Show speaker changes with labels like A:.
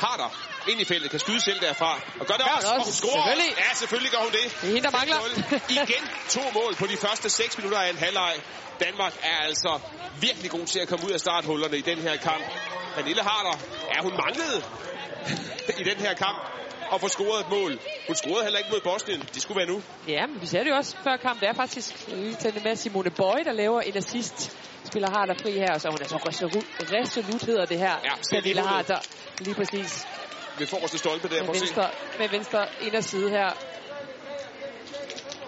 A: Harder ind i feltet, kan skyde selv derfra. Og gør det
B: Gør
A: også,
B: det også,
A: og hun scorer.
B: selvfølgelig.
A: Ja, selvfølgelig gør hun det.
B: Det er hende, der mangler.
A: 6-0. Igen to mål på de første 6 minutter af en halvleg. Danmark er altså virkelig god til at komme ud af starthullerne i den her kamp. Pernille Harder, ja, hun manglede i den her kamp og få scoret et mål. Hun scorede heller ikke mod Bosnien. Det skulle være nu.
B: Ja, men vi ser det jo også før kamp. Det er faktisk lige tændt med Simone Bøje, der laver en assist. Spiller Harder fri her, og så er hun altså resolut, resolut hedder det her.
A: Ja, selv
B: Pernille
A: lige
B: Harder. Lige præcis.
A: Ved forreste stolpe der.
B: Med
A: Prøv at se.
B: venstre, med venstre inderside her.